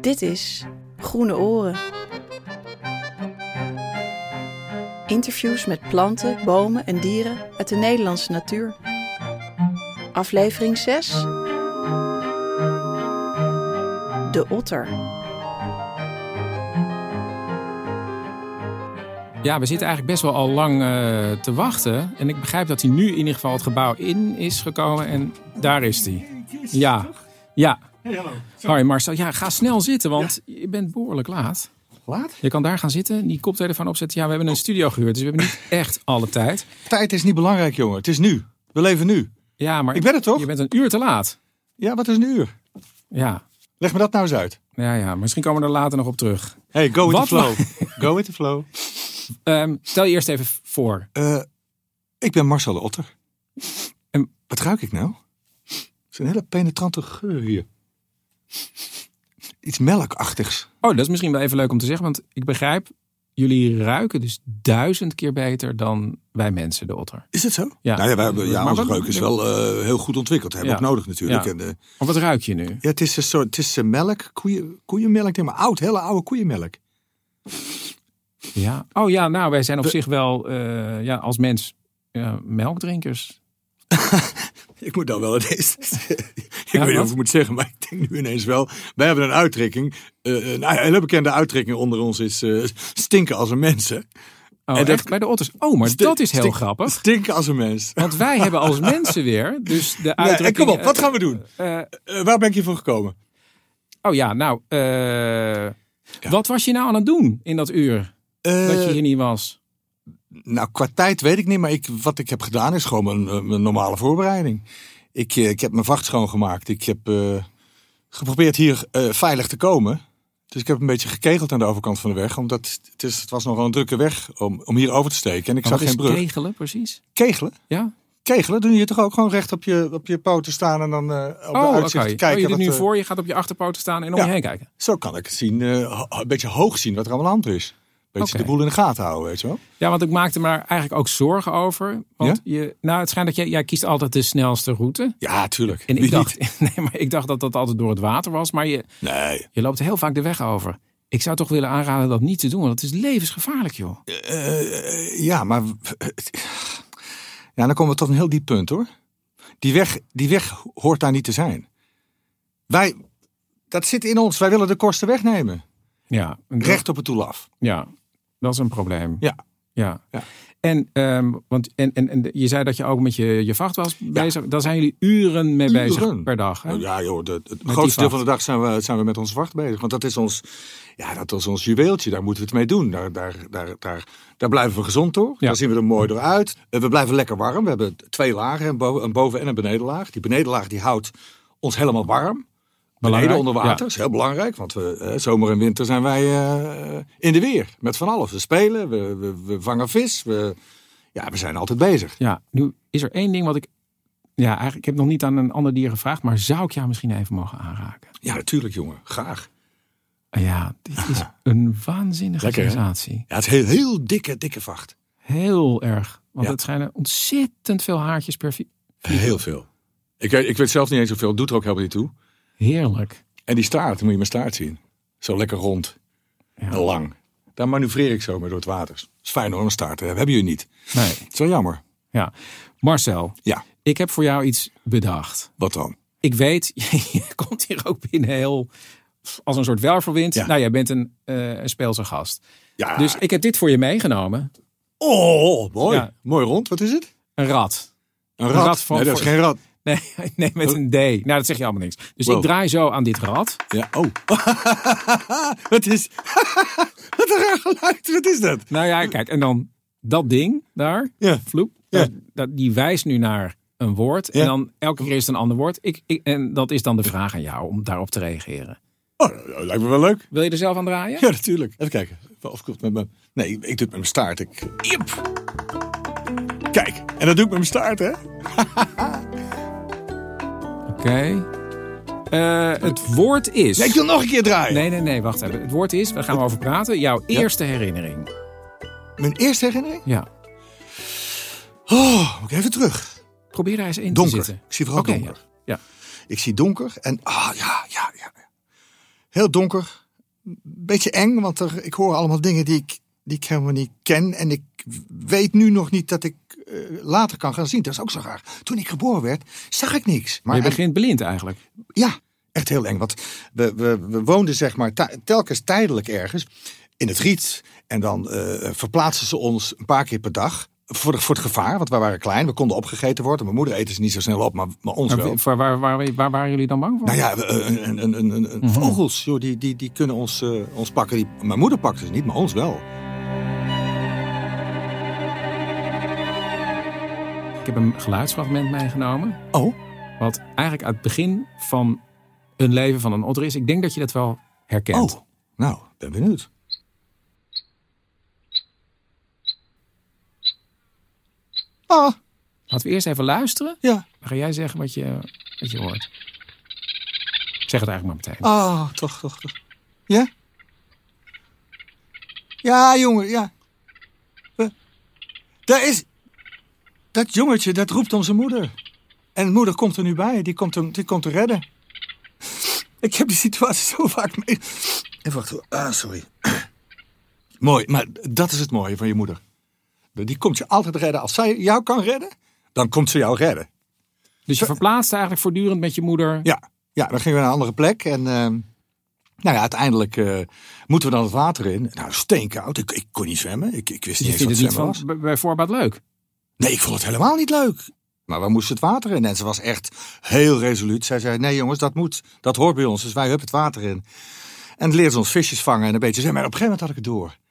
Dit is Groene Oren. Interviews met planten, bomen en dieren uit de Nederlandse natuur. Aflevering 6. De otter. Ja, we zitten eigenlijk best wel al lang eh, te wachten. En ik begrijp dat hij nu in ieder geval het gebouw in is gekomen. En daar is hij. Ja. Ja. Hey, hallo. Zo. Hoi Marcel. Ja, ga snel zitten, want je bent behoorlijk laat. Laat? Je kan daar gaan zitten, die koptelefoon opzetten. Ja, we Oh. hebben een studio gehuurd, dus we hebben niet echt alle tijd. Tijd is niet belangrijk, jongen. Het is nu. We leven nu. Ja, maar Ik ben er toch? Je bent een uur te laat. Ja, wat is een uur? Ja. Leg me dat nou eens uit. Ja, ja. Misschien komen we er later nog op terug. Hey, go with Wat? the flow. Go with the flow. Ehm, stel je eerst even voor. Eh, ik ben Marcel de Otter. En- wat ruik ik nou? Het is een hele penetrante geur hier. Iets melkachtigs. Oh, dat is misschien wel even leuk om te zeggen, want ik begrijp... Jullie ruiken dus duizend keer beter dan wij mensen, de otter. Is het zo? Ja. Nou ja, wij, hebben- ja Maar onze wat- reuk is wel eh, heel goed ontwikkeld. Hebben we Ja. ook nodig natuurlijk. Ja. En, eh, Maar wat ruik je nu? ja, het is een soort het is, eh, melk, koeien, koeienmelk, denk maar oud, hele oude koeienmelk. Ja. Oh ja, nou, wij zijn op We- zich wel eh, ja, als mens ja, melkdrinkers. Ik moet dan wel ineens. ik Ja, weet niet wat? of ik moet zeggen, maar ik denk nu ineens wel. Wij hebben een uittrekking. eh, een hele bekende uittrekking onder ons is eh, stinken als een mens. hè. Oh, En dat- echt? Bij de otters. Oh, maar Sti- dat is heel stink- grappig. Stinken als een mens. Want wij hebben als mensen weer, dus de Nee, en uitdrukking... kom op, wat gaan we doen? eh, eh, Eh, waar ben ik hiervoor gekomen? oh ja, nou, eh, wat was je nou aan het doen in dat uur Eh, dat je hier niet was? Nou, qua tijd weet ik niet, maar ik, wat ik heb gedaan is gewoon mijn, eh, mijn normale voorbereiding. Ik, eh, ik heb mijn vacht schoongemaakt. Ik heb eh, geprobeerd hier eh, veilig te komen. Dus ik heb een beetje gekegeld aan de overkant van de weg. Omdat het, is, het was nogal een drukke weg om, om hier over te steken. En ik Wat zag is geen brug. kegelen, precies? Kegelen? Ja? Kegelen doen je toch ook gewoon recht op je, op je poten staan en dan eh, op de Oh, oké. uitzicht Oh, kijken. je doet wat, nu eh, voor, je gaat op je achterpoten staan en om Ja. je heen kijken. Zo kan ik het zien, eh, ho- een beetje hoog zien wat er aan de hand is. Beetje Oké. de boel in de gaten houden, weet je wel. Ja, want ik maakte me daar eigenlijk ook zorgen over. Want je, nou, het schijnt dat jij, jij kiest altijd de snelste route. Ja, tuurlijk. En ik Wie dacht, nee, maar ik dacht dat dat altijd door het water was. Maar je, niet? Nee. je loopt heel vaak de weg over. Ik zou toch willen aanraden dat niet te doen, want het is levensgevaarlijk, joh. Eh, ja, maar... Ja, dan komen we tot een heel diep punt, hoor. Die weg, die weg hoort daar niet te zijn. Wij... Dat zit in ons. Wij willen de kosten wegnemen. Ja, en dat- Recht op het toelaf. ja dat is een probleem. Ja. Ja. Ja. En, ehm, want, en, en, en je zei dat je ook met je, je vacht was bezig. Daar zijn jullie uren mee bezig Uren. per dag. Hè? Nou ja, joh, de- het die grootste deel vacht. van de dag zijn we, zijn we met ons wacht bezig. Want dat is ons, ja, dat is ons juweeltje. Daar moeten we het mee doen. Daar, daar, daar, daar, daar blijven we gezond door. Ja. Daar zien we er mooi door uit. Eh, We blijven lekker warm. We hebben twee lagen, een boven, een boven- en een benedenlaag. Die benedenlaag die houdt ons helemaal warm. Belangrijk, Beneden onder water ja. is heel belangrijk. Want we, eh, zomer en winter zijn wij eh, in de weer. Met van alles. We spelen, we, we, we vangen vis. We, ja, we zijn altijd bezig. Ja, nu is er één ding wat ik... Ja, eigenlijk, ik heb nog niet aan een ander dier gevraagd, maar zou ik jou misschien even mogen aanraken? Ja, natuurlijk jongen. Graag. Ja, dit is een waanzinnige Lekker, hè? sensatie. Ja, het is heel, heel dikke, dikke vacht. Heel erg. Want Ja. het schijnen ontzettend veel haartjes per... vi- Heel veel. Ik weet, ik weet zelf niet eens hoeveel. Doet er ook helemaal niet toe. Heerlijk. En die staart, moet je mijn staart zien. Zo lekker rond. En lang. Daar manoeuvreer ik zo mee door het water. is fijn hoor, een staart te hebben. Hebben jullie niet. Nee, Het is wel jammer. ja. Marcel, Ja, ik heb voor jou iets bedacht. wat dan? Ik weet, je komt hier ook binnen heel... als een soort wervelwind. Ja. Nou, jij bent een, eh een speelse gast. Ja, Dus ik heb dit voor je meegenomen. oh, mooi. Ja. Mooi rond. Wat is het? Een rat. Een rat van- nee, dat is voor- geen rat. Nee, nee, met een D. Nou, dat zeg je allemaal niks. Dus Oh. Wow. ik draai zo aan dit rad. Ja, oh. wat is... wat een raar geluid. Wat is dat? Nou ja, kijk, en dan dat ding daar, Ja. vloep, Ja. dat- dat- die wijst nu naar een woord. Ja. En dan elke keer is het een ander woord. Ik, ik, en dat is dan de vraag aan jou om daarop te reageren. Oh, dat lijkt me wel leuk. Wil je er zelf aan draaien? Ja, natuurlijk. Even kijken. Of ik het met mijn... Nee, ik, ik doe het met mijn staart. Ik... Iep. Kijk, en dat doe ik met mijn staart, hè? Oké. Eh, het woord is. Nee, ik wil nog een keer draaien. Nee, nee, nee, wacht even. Het woord is, daar gaan we over praten. Jouw eerste herinnering. Mijn eerste herinnering? Ja. Oh, moet ik even terug. Probeer daar eens in Donker. te zitten. Ik zie vooral Oké, donker. Ja. ja. Ik zie donker en ah ja, ja, ja. Heel donker. Beetje eng, want er, ik hoor allemaal dingen die ik, die ik helemaal niet ken. En ik weet nu nog niet dat ik eh, later kan gaan zien. Dat is ook zo raar. Toen ik geboren werd, zag ik niks. Maar je en- begint blind eigenlijk. ja, echt heel eng. Want we, we, we woonden zeg maar ta- telkens tijdelijk ergens in het riet. En dan eh, verplaatsten ze ons een paar keer per dag. Voor, de- voor het gevaar, want wij waren klein. We konden opgegeten worden. Mijn moeder eten ze niet zo snel op, maar, maar ons Maar wel. wie- Waar, waar, waar, waar waren jullie dan bang voor? Nou ja, we- eh, een, een, een, een, Mhm. een- vogels, joh, die, die, die kunnen ons, eh, ons pakken. Die, mijn moeder pakte ze niet, maar ons wel. Ik heb een geluidsfragment meegenomen. Oh, Wat eigenlijk uit het begin van een leven van een otter is. Ik denk dat je dat wel herkent. oh. Nou, ben benieuwd. Ah, Laten we eerst even luisteren. ja. Dan ga jij zeggen wat je, wat je hoort. Ik Zeg het eigenlijk maar meteen. Ah, toch, toch, toch. Ja? Ja, jongen, ja. We- Daar is... Dat jongetje, dat roept om zijn moeder. En moeder komt er nu bij. Die komt hem, die komt te redden. Ik heb die situatie zo vaak mee... Even wachten. Ah, sorry. Mooi, maar dat is het mooie van je moeder. Die komt je altijd redden. Als zij jou kan redden, dan komt ze jou redden. Dus je verplaatst eigenlijk voortdurend met je moeder. Ja, ja dan gingen we naar een andere plek. En ehm, nou ja, uiteindelijk eh, moeten we dan het water in. Nou, steenkoud. Ik, ik kon niet zwemmen. Ik, ik wist je niet eens vindt het wat niet zwemmen van, was. bij- bij voorbaat leuk. Nee, ik vond het helemaal niet leuk. Maar we moesten het water in. En ze was echt heel resoluut. Zij zei, nee jongens, dat moet. Dat hoort bij ons. Dus wij hup het water in. En leerde ze ons visjes vangen en een beetje zwemmen. Maar op een gegeven moment had ik het door.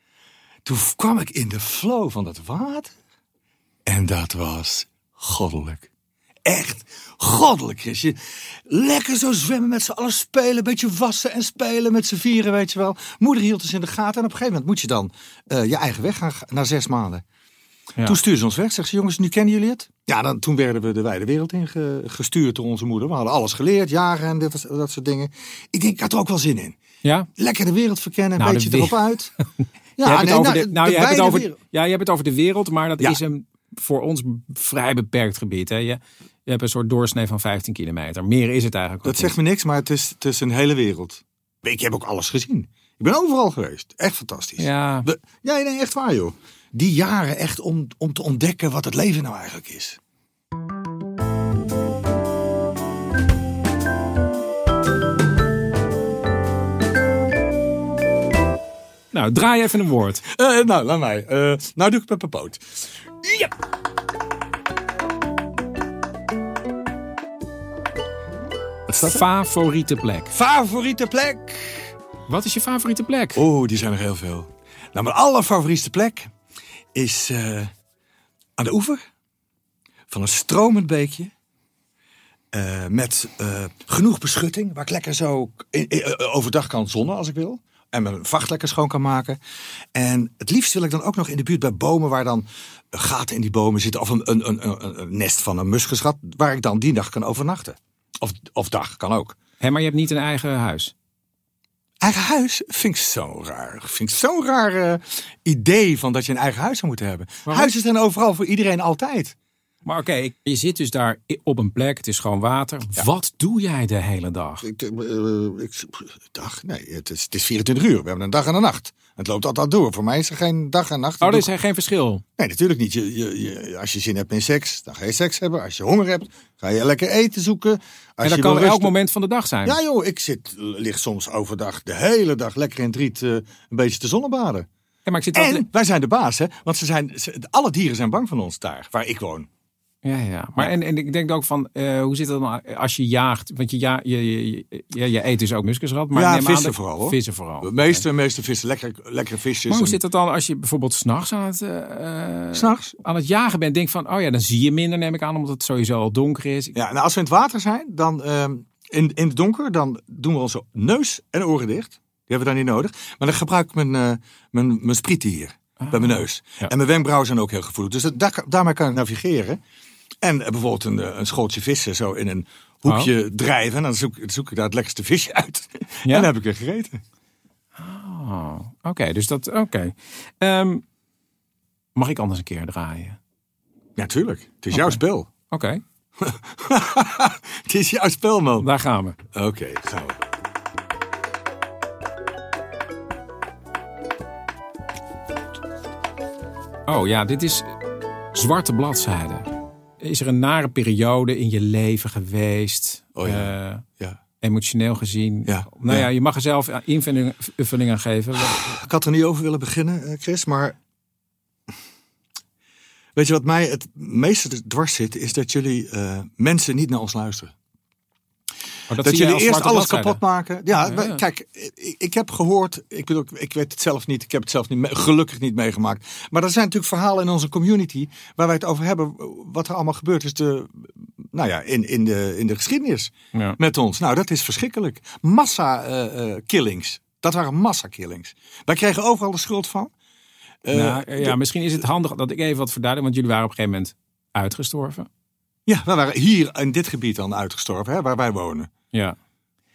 Toen kwam ik in de flow van dat water. En dat was goddelijk. Echt goddelijk, Chrisje. Lekker zo zwemmen met z'n allen spelen. Een beetje wassen en spelen met z'n vieren, weet je wel. Moeder hield ons in de gaten. En op een gegeven moment moet je dan eh, je eigen weg gaan ga- na zes maanden. Ja. Toen stuurde ze ons weg. Zegt ze, jongens, nu kennen jullie het? Ja, dan, toen werden we de wijde wereld in ge- gestuurd door onze moeder. We hadden alles geleerd, jagen en dit, was- dat soort dingen. Ik denk, ik had er ook wel zin in. Ja? Lekker de wereld verkennen, een Nou, beetje de erop we- uit. Je hebt het over nou, de- nou, de je hebt het wijde over- wereld. ja, je hebt het over de wereld, maar dat Ja. is een voor ons vrij beperkt gebied. Hè? Je, je hebt een soort doorsnee van 15 kilometer. Meer is het eigenlijk ook Dat zegt niet. me niks, maar het is, het is een hele wereld. Ik heb ook alles gezien. Ik ben overal geweest. Echt fantastisch. Ja, We- ja nee, echt waar joh. Die jaren echt om, om te ontdekken wat het leven nou eigenlijk is. nou draai even een woord. Eh, nou, laat mij. Eh, nou doe ik het met mijn poot. Ja. Wat is dat? Favoriete plek. Favoriete plek? Wat is je favoriete plek? Oh, die zijn er heel veel. Nou, mijn allerfavorietste plek is eh, aan de oever van een stromend beekje. Eh, met eh, genoeg beschutting, waar ik lekker zo in- in- eh, overdag kan zonnen als ik wil. En mijn vacht lekker schoon kan maken. En het liefst wil ik dan ook nog in de buurt bij bomen, waar dan gaten in die bomen zitten. Of een, een, een, een- een nest van een muskeschat, waar ik dan die dag kan overnachten. Of, of dag, kan ook. Hé, maar je hebt niet een eigen huis. Eigen huis vind ik zo raar. Vind ik zo'n raar eh, idee van dat je een eigen huis zou moeten hebben. Waarom? Huizen zijn overal voor iedereen altijd. Maar oké, ik- je zit dus daar i- op een plek. Het is gewoon water. Wat doe jij de hele dag? Ik, eh, ik, dag? Nee, het is, het is 24 uur. We hebben een dag en een nacht. Het loopt altijd door. Voor mij is er geen dag en nacht. Oh, er is geen verschil. Nee, natuurlijk niet. Je, je, je- als je zin hebt in seks, dan ga je seks hebben. Als je honger hebt, ga je lekker eten zoeken. Als En dat je kan wil elk rusten- moment van de dag zijn. Ja joh, ik zit, eh, lig soms overdag de hele dag lekker in het riet eh, een beetje te zonnebaden. Ja, maar ik zit wel te- En wij zijn de baas, hè? Want ze zijn, ze- alle dieren zijn bang van ons daar, waar ik woon. Ja, ja. Maar En, en ik denk ook van, eh, hoe zit dat dan als je jaagt? Want je, ja, je, je, je, ja, je eet dus ook muskusrat. Maar Ja, neem aan vissen dat- vooral, hoor. Vissen vooral. De meeste, meeste vissen, lekker, lekkere visjes. Maar hoe En- zit dat dan als je bijvoorbeeld s'nachts aan het... eh, eh, S'nachts? Aan het jagen bent, denk van, oh ja, dan zie je minder, neem ik aan, omdat het sowieso al donker is. Ja, nou, als we in het water zijn, dan ehm, in, in het donker, dan doen we onze neus en oren dicht. Die hebben we dan niet nodig. Maar dan gebruik ik mijn, eh, mijn, mijn sprieten hier, Ah. bij mijn neus. Ja. En mijn wenkbrauwen zijn ook heel gevoelig. Dus dat, daar, daarmee kan ik navigeren. En eh, bijvoorbeeld een, eh, een schooltje vissen zo in een hoekje drijven. En dan zoek, zoek ik daar het lekkerste visje uit. Ja? En dan heb ik er gegeten. Oh, oké, dus dat, oké. Ehm, mag ik anders een keer draaien? Natuurlijk, het is jouw spel. Oké. Het is jouw spel, man. Daar gaan we. Oké, gaan we. Oh ja, dit is zwarte bladzijden. Is er een nare periode in je leven geweest? Oh ja. Eh, Ja. emotioneel gezien? Ja. Nou ja. Ja. je mag er zelf invulling, invulling aan geven. Ik had er niet over willen beginnen, eh, Chris, maar... Weet je wat mij het meeste dwars zit, is dat jullie eh, mensen niet naar ons luisteren. Maar dat zie jij jullie als eerst zwarte alles bladzijden. kapot maken. Ja, Ja, maar ja. kijk, ik, ik heb gehoord, ik bedoel, ik weet het zelf niet, ik heb het zelf niet, me- gelukkig niet meegemaakt. Maar er zijn natuurlijk verhalen in onze community waar wij het over hebben, wat er allemaal gebeurd is de, nou ja, in, in, de, in de geschiedenis Ja. met ons. Nou, dat is verschrikkelijk. Massa eh, eh, killings. Dat waren massa killings. Wij kregen overal de schuld van. Eh, Nou, eh, ja, misschien is het handig dat ik even wat verduidelijk, want jullie waren op een gegeven moment uitgestorven. ja, wij waren hier in dit gebied dan uitgestorven, hè, waar wij wonen. Ja.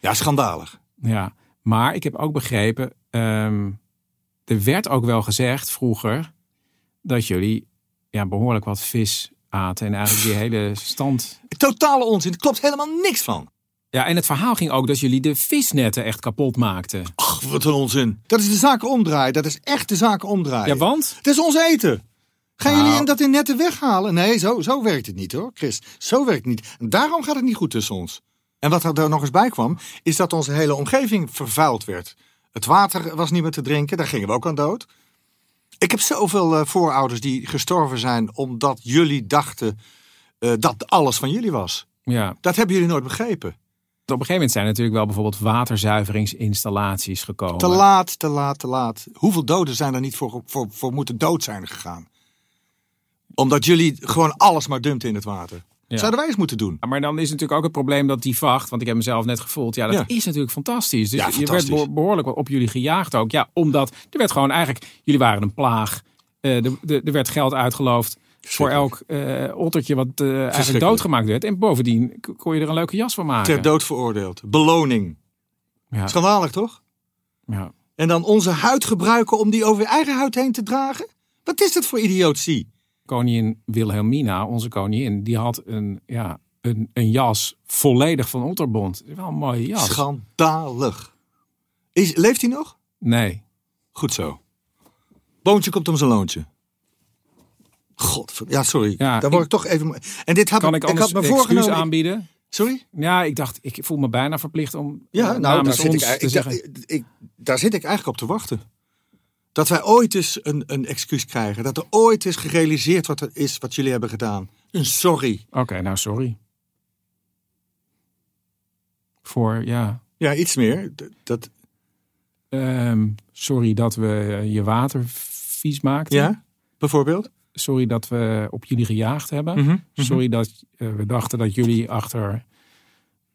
Ja, schandalig. ja. Maar ik heb ook begrepen, ehm, er werd ook wel gezegd vroeger dat jullie ja, behoorlijk wat vis aten en eigenlijk die hele stand. Totale onzin. Er klopt helemaal niks van. Ja, en het verhaal ging ook dat jullie de visnetten echt kapot maakten. Ach, wat een onzin. Dat is de zaken omdraaien. Dat is echt de zaken omdraaien. Ja, want? Het is ons eten. Gaan Nou. jullie dat in netten weghalen? Nee, zo, zo werkt het niet hoor, Chris. Zo werkt het niet. En daarom gaat het niet goed tussen ons. En wat er daar nog eens bij kwam, is dat onze hele omgeving vervuild werd. Het water was niet meer te drinken, daar gingen we ook aan dood. Ik heb zoveel eh, voorouders die gestorven zijn omdat jullie dachten eh, dat alles van jullie was. Ja. Dat hebben jullie nooit begrepen. Op een gegeven moment zijn natuurlijk wel bijvoorbeeld waterzuiveringsinstallaties gekomen. Te laat, te laat, te laat. Hoeveel doden zijn er niet voor, voor, voor moeten dood zijn gegaan? Omdat jullie gewoon alles maar dumpten in het water. Ja. Zouden wij eens moeten doen. Ja, Ah, Maar dan is natuurlijk ook het probleem dat die vacht, want ik heb mezelf net gevoeld, ja, dat Ja. is natuurlijk fantastisch. Dus Ja, je werd fantastisch. beho- behoorlijk op jullie gejaagd ook. Ja, omdat er werd gewoon eigenlijk, jullie waren een plaag. Eh, de- de- er werd geld uitgeloofd voor elk eh, ottertje wat eh, eigenlijk Verschrikkelijk. doodgemaakt werd. En bovendien k- kon je er een leuke jas van Ter maken. dood veroordeeld. Beloning. Ja, Schandalig toch? ja. En dan onze huid gebruiken om die over je eigen huid heen te dragen? Wat is dat voor idiotie? Koningin Wilhelmina, onze koningin, die had een, ja, een, een jas volledig van otterbond. Wel een mooie jas. Schandalig. Is, leeft hij nog? nee. Goed zo. Boontje komt om zijn loontje. God, ja, sorry. Ja, Daar word ik- ik toch even. En dit had Kan ik ik had anders me excuus voorgenomen. aanbieden? Sorry? Ja, ik dacht, ik voel me bijna verplicht om Ja, eh, nou, daar namens zit, ik, ons te eigenlijk- zeggen. ik, ik- daar zit ik eigenlijk op te wachten. Dat wij ooit eens een, een excuus krijgen. Dat er ooit is gerealiseerd wat er is wat jullie hebben gedaan. Een sorry. Oké, nou sorry. Voor, ja. Ja, iets meer. D- Dat, ehm, sorry dat we eh, je water vies maakten. ja, bijvoorbeeld. Sorry dat we op jullie gejaagd hebben. Mhm. Sorry dat eh, we dachten dat jullie achter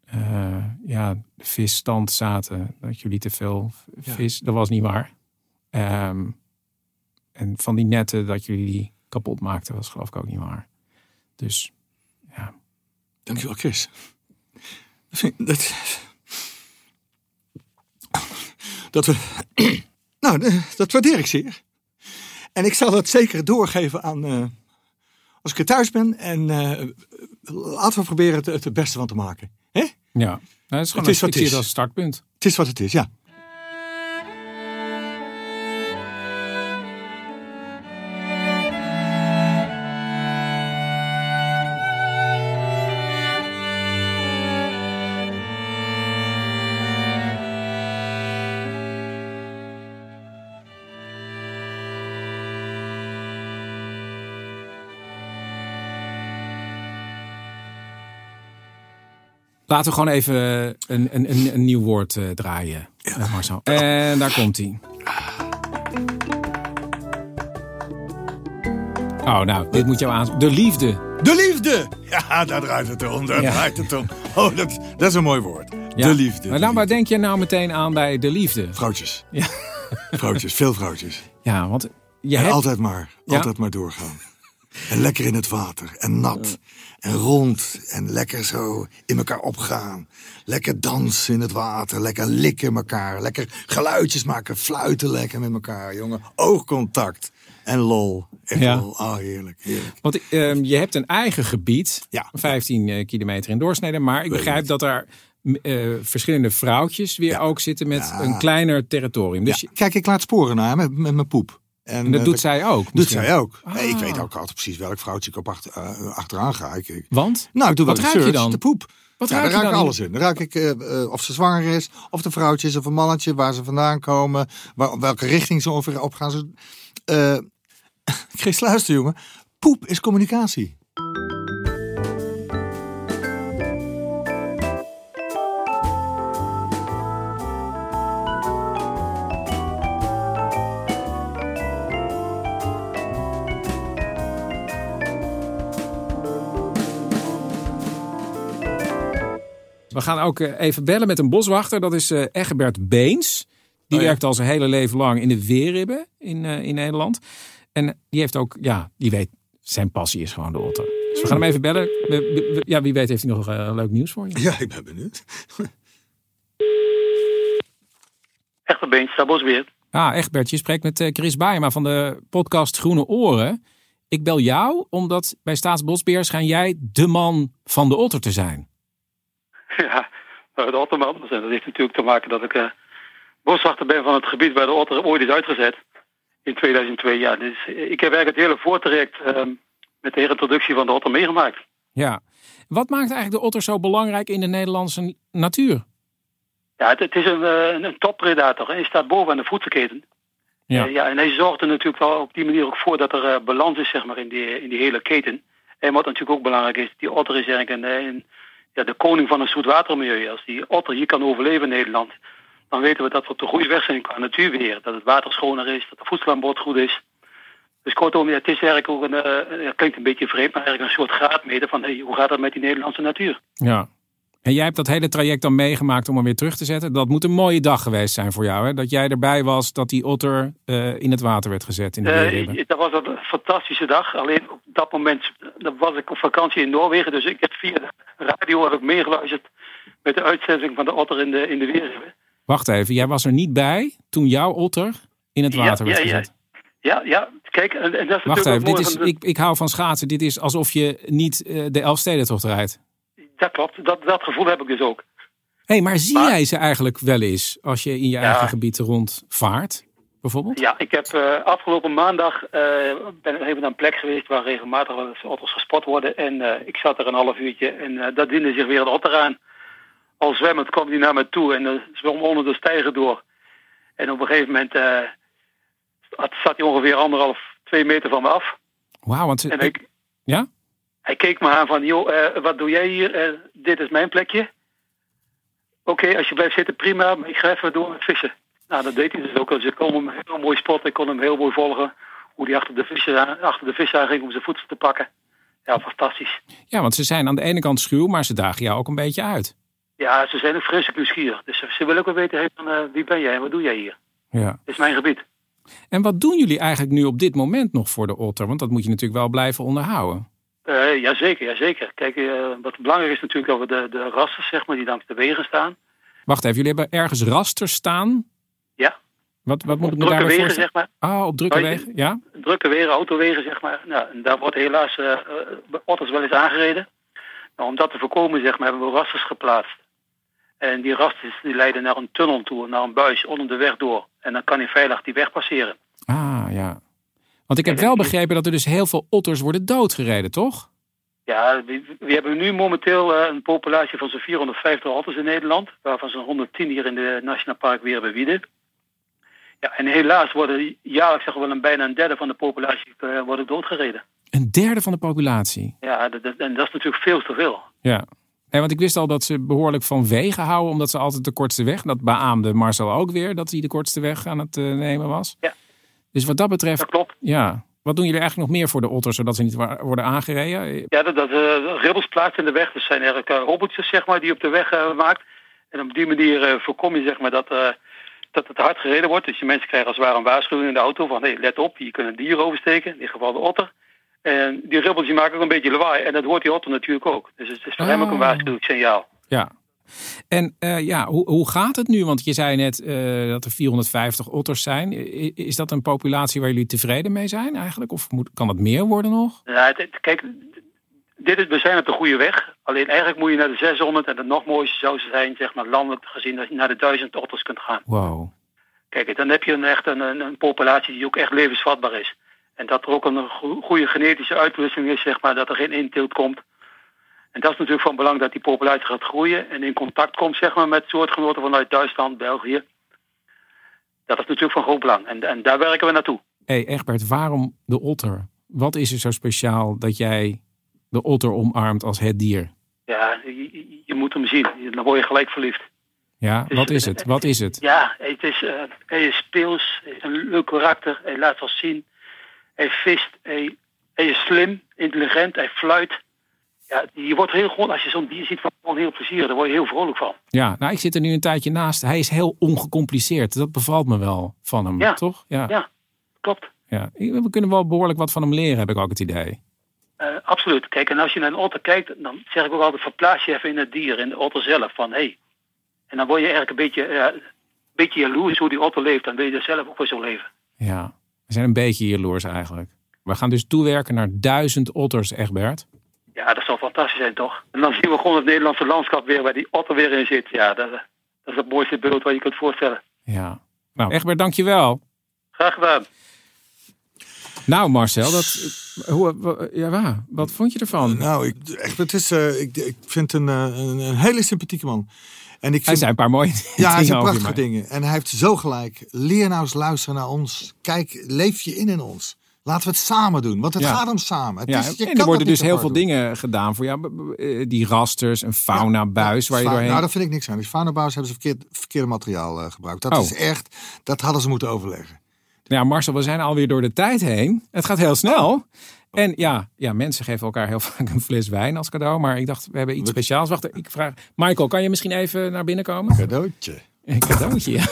eh, ja, de visstand zaten. Dat jullie te veel v- Ja. vis. Dat was niet waar. Ehm, en van die netten dat jullie die kapot maakten, was geloof ik ook niet waar. Dus Dankjewel, Chris. Dat vind ik- Dat, dat we... Nou, eh, dat waardeer ik zeer. En ik zal dat zeker doorgeven aan... eh, als ik er thuis ben. En eh, laten we proberen het, het beste van te maken. hè? ja, nou, dat is gewoon Het is een, wat ik zie het is. als een startpunt. Het is wat het is, ja. Laten we gewoon even een, een, een, een nieuw woord eh, draaien. Eh, Marcel. En daar komt hij. Oh, nou, dit moet jou aan. De liefde. De liefde! Ja, daar draait het om. Daar Ja. draait het om. Oh, dat, dat is een mooi woord. Ja. De liefde. Maar de dan, waar liefde. denk je nou meteen aan bij de liefde? Vrouwtjes. Ja. Vrouwtjes, veel vrouwtjes. Ja, want je En hebt... altijd maar, Ja. altijd maar doorgaan. En lekker in het water. En nat. En rond. En lekker zo in elkaar opgaan. Lekker dansen in het water. Lekker likken elkaar. Lekker geluidjes maken. Fluiten lekker met elkaar, jongen. Oogcontact. En lol. Echt Ja. lol. Oh, heerlijk. heerlijk. Want ehm, je hebt een eigen gebied, Ja. 15 eh, kilometer in doorsnede. Maar ik Weet begrijp niet. dat daar m, eh, verschillende vrouwtjes weer Ja. ook zitten met Ja. een kleiner territorium. Dus Ja. je- Kijk, ik laat sporen naar met, met mijn poep. en dat eh, doet zij ook. doet misschien. zij ook. Ah. Nee, ik weet ook altijd precies welk vrouwtje ik op achter, eh, achteraan ga. Ik, ik- Want? nou, ik doe wel Wat eens ruik je search, dan? De poep. Wat ja, raak daar je raak ik dan? alles in. Dan raak ik eh, eh, of ze zwanger is, of de vrouwtje is, of een mannetje, waar ze vandaan komen, waar, welke richting ze ongeveer op gaan. Ze, Eh, Chris, luister jongen. Poep is communicatie. We gaan ook eh, even bellen met een boswachter. Dat is eh, Egbert Beens. Die Oh ja. werkt al zijn hele leven lang in de weerribben in, eh, in Nederland. En die heeft ook, ja, die weet, zijn passie is gewoon de otter. Dus we gaan hem even bellen. We- we- we- ja, wie weet heeft hij nog eh, leuk nieuws voor je. Ja, ik ben benieuwd. Echte beenstabels weer. Ah, Egbert, je spreekt met eh, Chris Baaiema van de podcast Groene Oren. Ik bel jou omdat bij Staatsbosbeheer schijn jij de man van de otter te zijn. Ja, maar de otterman. Dus, eh, Dat heeft natuurlijk te maken dat ik eh, boswachter ben van het gebied waar de otter ooit is uitgezet. In 2002, ja. Dus eh, ik heb eigenlijk het hele voortraject ehm, met de herintroductie van de otter meegemaakt. Ja. Wat maakt eigenlijk de otter zo belangrijk in de Nederlandse natuur? Ja, het, het is een, eh, een, een toppredator. hè. Hij staat bovenaan de voedselketen. Ja. Eh, ja, en hij zorgt er natuurlijk wel op die manier ook voor dat er eh, balans is zeg maar, in, die, in die hele keten. En wat natuurlijk ook belangrijk is, die otter is eigenlijk een, eh, een- ja, de koning van een zoetwatermilieu. Als die otter hier kan overleven in Nederland, dan weten we dat we op de goede weg zijn qua natuurbeheer. Dat het water schoner is, dat de voedselaanbod goed is. Dus kortom, ja, het is eigenlijk ook een, eh, ja, klinkt een beetje vreemd, maar eigenlijk een soort graadmeter van hey, hoe gaat het met die Nederlandse natuur? Ja. En jij hebt dat hele traject dan meegemaakt om hem weer terug te zetten. Dat moet een mooie dag geweest zijn voor jou. Hè? Dat jij erbij was dat die otter eh, in het water werd gezet in de Eh, weerribben. dat was een fantastische dag. Alleen op dat moment eh, was ik op vakantie in Noorwegen. Dus ik heb via de radio heb ik meegeluisterd met de uitzending van de otter in de, in de weer. Wacht even, jij was er niet bij toen jouw otter in het Ja, water werd ja, ja. gezet. Ja, ja, kijk, en, en dat Wacht is natuurlijk even, ook dit mooi is, van de- ik, ik hou van schaatsen. Dit is alsof je niet eh, de Elfstedentocht rijdt. Dat klopt, dat, dat gevoel heb ik dus ook. Hé, hey, maar zie Maar- jij ze eigenlijk wel eens als je in je eigen gebied rondvaart? Bijvoorbeeld? Ja, ik heb eh, afgelopen maandag eh, ben ik even naar een plek geweest waar regelmatig wel eens otters gespot worden. En eh, ik zat er een half uurtje en eh, daar diende zich weer een otter aan. Al zwemmend kwam die naar me toe en eh, zwom onder de stijger door. En op een gegeven moment eh, had- zat hij ongeveer anderhalf, twee meter van me af. Wauw, want ze- En ik, ja? hij keek me aan van, joh, eh, wat doe jij hier? Eh, dit is mijn plekje. Oké, als je blijft zitten, prima, maar ik ga even door met vissen. Nou, dat deed hij dus ook. Dus ik kon hem heel mooi spotten, ik kon hem heel mooi volgen. Hoe hij achter de vissen, aan- achter de vissen aan ging om zijn voedsel te pakken. Ja, fantastisch. ja, want ze zijn aan de ene kant schuw, maar ze dagen jou ook een beetje uit. Ja, ze zijn ook vreselijk nieuwsgierig. Dus ze- ze willen ook wel weten, hey, van, eh, wie ben jij en wat doe jij hier? Ja. Dit is mijn gebied. En wat doen jullie eigenlijk nu op dit moment nog voor de otter? Want dat moet je natuurlijk wel blijven onderhouden. Eh, jazeker, jazeker. Kijk, eh, wat belangrijk is natuurlijk dat we de, de rassen, zeg maar, die langs de wegen staan. Wacht even, jullie hebben ergens rasters staan? Ja, Wat, wat moet ik me drukke daarbij wegen, voorstellen? zeg maar. Ah, op drukke Waar je- wegen, ja? drukke wegen, autowegen, zeg maar. Nou, en daar wordt helaas eh, eh, otters wel eens aangereden. Nou, om dat te voorkomen, zeg maar, hebben we rasters geplaatst. En die rasters die leiden naar een tunnel toe, naar een buis onder de weg door. En dan kan hij veilig die weg passeren. Ah, ja. Want ik heb wel begrepen dat er dus heel veel otters worden doodgereden, toch? Ja, we, we hebben nu momenteel eh, een populatie van zo'n 450 otters in Nederland. Waarvan zo'n 110 hier in de Nationaal Park Weerbewieden. Ja, en helaas worden jaarlijks zeg maar, wel een bijna een derde van de populatie eh, worden doodgereden. Een derde van de populatie. Ja, dat, dat- en dat is natuurlijk veel te veel. Ja. Nee, want ik wist al dat ze behoorlijk van wegen houden, omdat ze altijd de kortste weg. Dat beaamde Marcel ook weer, dat hij de kortste weg aan het eh, nemen was. Ja. Dus wat dat betreft, Dat klopt. ja. Wat doen jullie eigenlijk nog meer voor de otters, zodat ze niet wa- worden aangereden? Ja, dat, dat eh, ribbels plaatst in de weg. Dat zijn eigenlijk eh, hobbeltjes, zeg maar, die je op de weg eh, maakt. En op die manier eh, voorkom je, zeg maar, dat, eh, dat het hard gereden wordt. Dus je mensen krijgen als het ware een waarschuwing in de auto van... hé, hey, let op, hier kunnen dieren oversteken. In dit geval de otter. En die ribbels die maken ook een beetje lawaai. En dat hoort die otter natuurlijk ook. Dus het is voor hem ook een Ah. waarschuwingssignaal. Ja. En eh, ja, hoe, hoe gaat het nu? Want je zei net eh, dat er 450 otters zijn. I- Is dat een populatie waar jullie tevreden mee zijn eigenlijk? Of moet, kan het meer worden nog? Ja, het- het- kijk, dit is, we zijn op de goede weg. Alleen eigenlijk moet je naar de 600 en het nog mooiste zou zijn, zeg maar landelijk gezien, dat je naar de 1000 otters kunt gaan. Wow. Kijk, dan heb je een, echt een, een, een populatie die ook echt levensvatbaar is. En dat er ook een go- goede genetische uitwisseling is, zeg maar, dat er geen inteelt komt. En dat is natuurlijk van belang dat die populatie gaat groeien en in contact komt, zeg maar, met soortgenoten vanuit Duitsland, België. Dat is natuurlijk van groot belang. En, en daar werken we naartoe. Hé hey Egbert, waarom de otter? Wat is er zo speciaal dat jij de otter omarmt als het dier? Ja, je, je- je moet hem zien. Dan word je gelijk verliefd. Ja, wat is het? Wat is het? Ja, het is, eh, hij is speels, hij heeft een leuk karakter, hij laat wel zien. Hij vist, hij, hij is slim, intelligent, hij fluit. Ja, je wordt heel gewoon, als je zo'n dier ziet, gewoon heel plezier. Daar word je heel vrolijk van. Ja, nou ik zit er nu een tijdje naast. Hij is heel ongecompliceerd. Dat bevalt me wel van hem, Ja. toch? Ja. Klopt, Ja, we kunnen wel behoorlijk wat van hem leren, heb ik ook het idee. Eh, absoluut. Kijk, en als je naar een otter kijkt, dan zeg ik ook altijd, verplaats je even in het dier, in de otter zelf. Van, hé. Hey. En dan word je eigenlijk een beetje, ja, een beetje jaloers hoe die otter leeft. Dan wil je er zelf ook weer zo leven. Ja, we zijn een beetje jaloers eigenlijk. We gaan dus toewerken naar duizend otters, Egbert. Ja, dat zou fantastisch zijn, toch? En dan zien we gewoon het Nederlandse landschap weer waar die otter weer in zit. Ja, dat, dat is het mooiste beeld wat je kunt voorstellen. Ja. Nou, Egbert, dankjewel. Graag gedaan. Nou, Marcel, dat, hoe, wa- ja, wa- wat vond je ervan? Nou, ik, echt, het is, eh, ik, ik vind een, eh, een, een hele sympathieke man. En Hij ik vind, zei een paar mooie ja, hij dingen zijn over prachtige mij. dingen. En hij heeft zo gelijk. Leer nou eens luisteren naar ons. Kijk, leef je in in ons. Laten we het samen doen, want het Ja. gaat om samen. Het Ja, is, je kan en er dat worden niet dus heel veel apart doen. dingen gedaan voor jou. B- b- eh, Die rasters, een faunabuis waar je Fa- doorheen... Nou, daar vind ik niks aan. Die faunabouwers hebben ze verkeerd, verkeerde materiaal eh, gebruikt. Dat Oh. is echt, dat hadden ze moeten overleggen. Nou Ja, Marcel, we zijn alweer door de tijd heen. Het gaat heel snel. En ja, ja, mensen geven elkaar heel vaak een fles wijn als cadeau. Maar ik dacht, we hebben iets speciaals. Wacht, ik vraag... Michael, kan je misschien even naar binnen komen? Cadeautje. Een cadeautje, ja.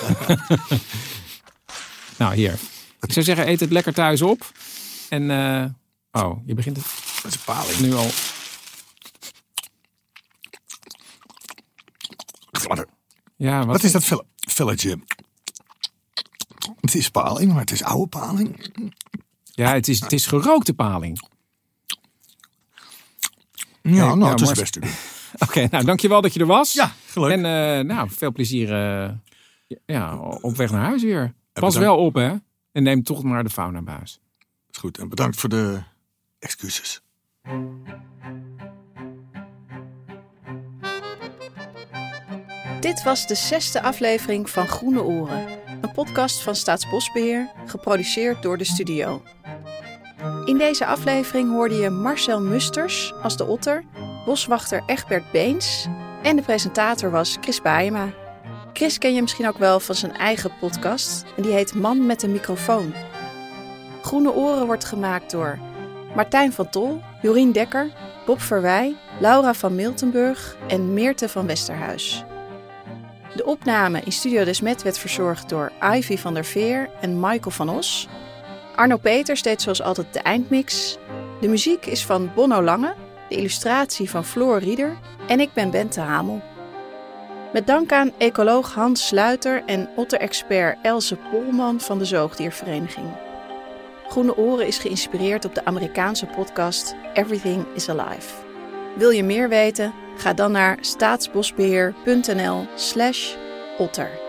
nou, hier. Ik zou zeggen, eet het lekker thuis op. En, eh, oh, je begint het Dat is een paling. nu al... Ja, wat, Wat is dat vill- village? Het is paling, maar het is oude paling. Ja, het is, het is gerookte paling. Ja, nou, nou, het is maar- het beste. doen. Oké, nou, dankjewel dat je er was. Ja, gelukkig. En eh, nou, veel plezier eh, ja, op weg naar huis weer. Pas bedankt. wel op, hè. En neem toch maar de faunabuis. Is goed, en bedankt voor de excuses. Dit was de zesde aflevering van Groene Oren, een podcast van Staatsbosbeheer, geproduceerd door de studio. In deze aflevering hoorde je Marcel Musters als de otter, boswachter Egbert Beens en de presentator was Chris Baaema. Chris ken je misschien ook wel van zijn eigen podcast en die heet Man met een microfoon. Groene Oren wordt gemaakt door Martijn van Tol, Jorien Dekker, Bob Verwij, Laura van Miltenburg en Meerte van Westerhuis. De opname in Studio Desmet werd verzorgd door Ivy van der Veer en Michael van Os. Arno Peters deed zoals altijd de eindmix. De muziek is van Bonno Lange, de illustratie van Floor Rieder en ik ben Bente Hamel. Met dank aan ecoloog Hans Sluiter en otter-expert Else Polman van de Zoogdiervereniging. Groene Oren is geïnspireerd op de Amerikaanse podcast Everything is Alive. Wil je meer weten? Ga dan naar staatsbosbeheer.nl/otter.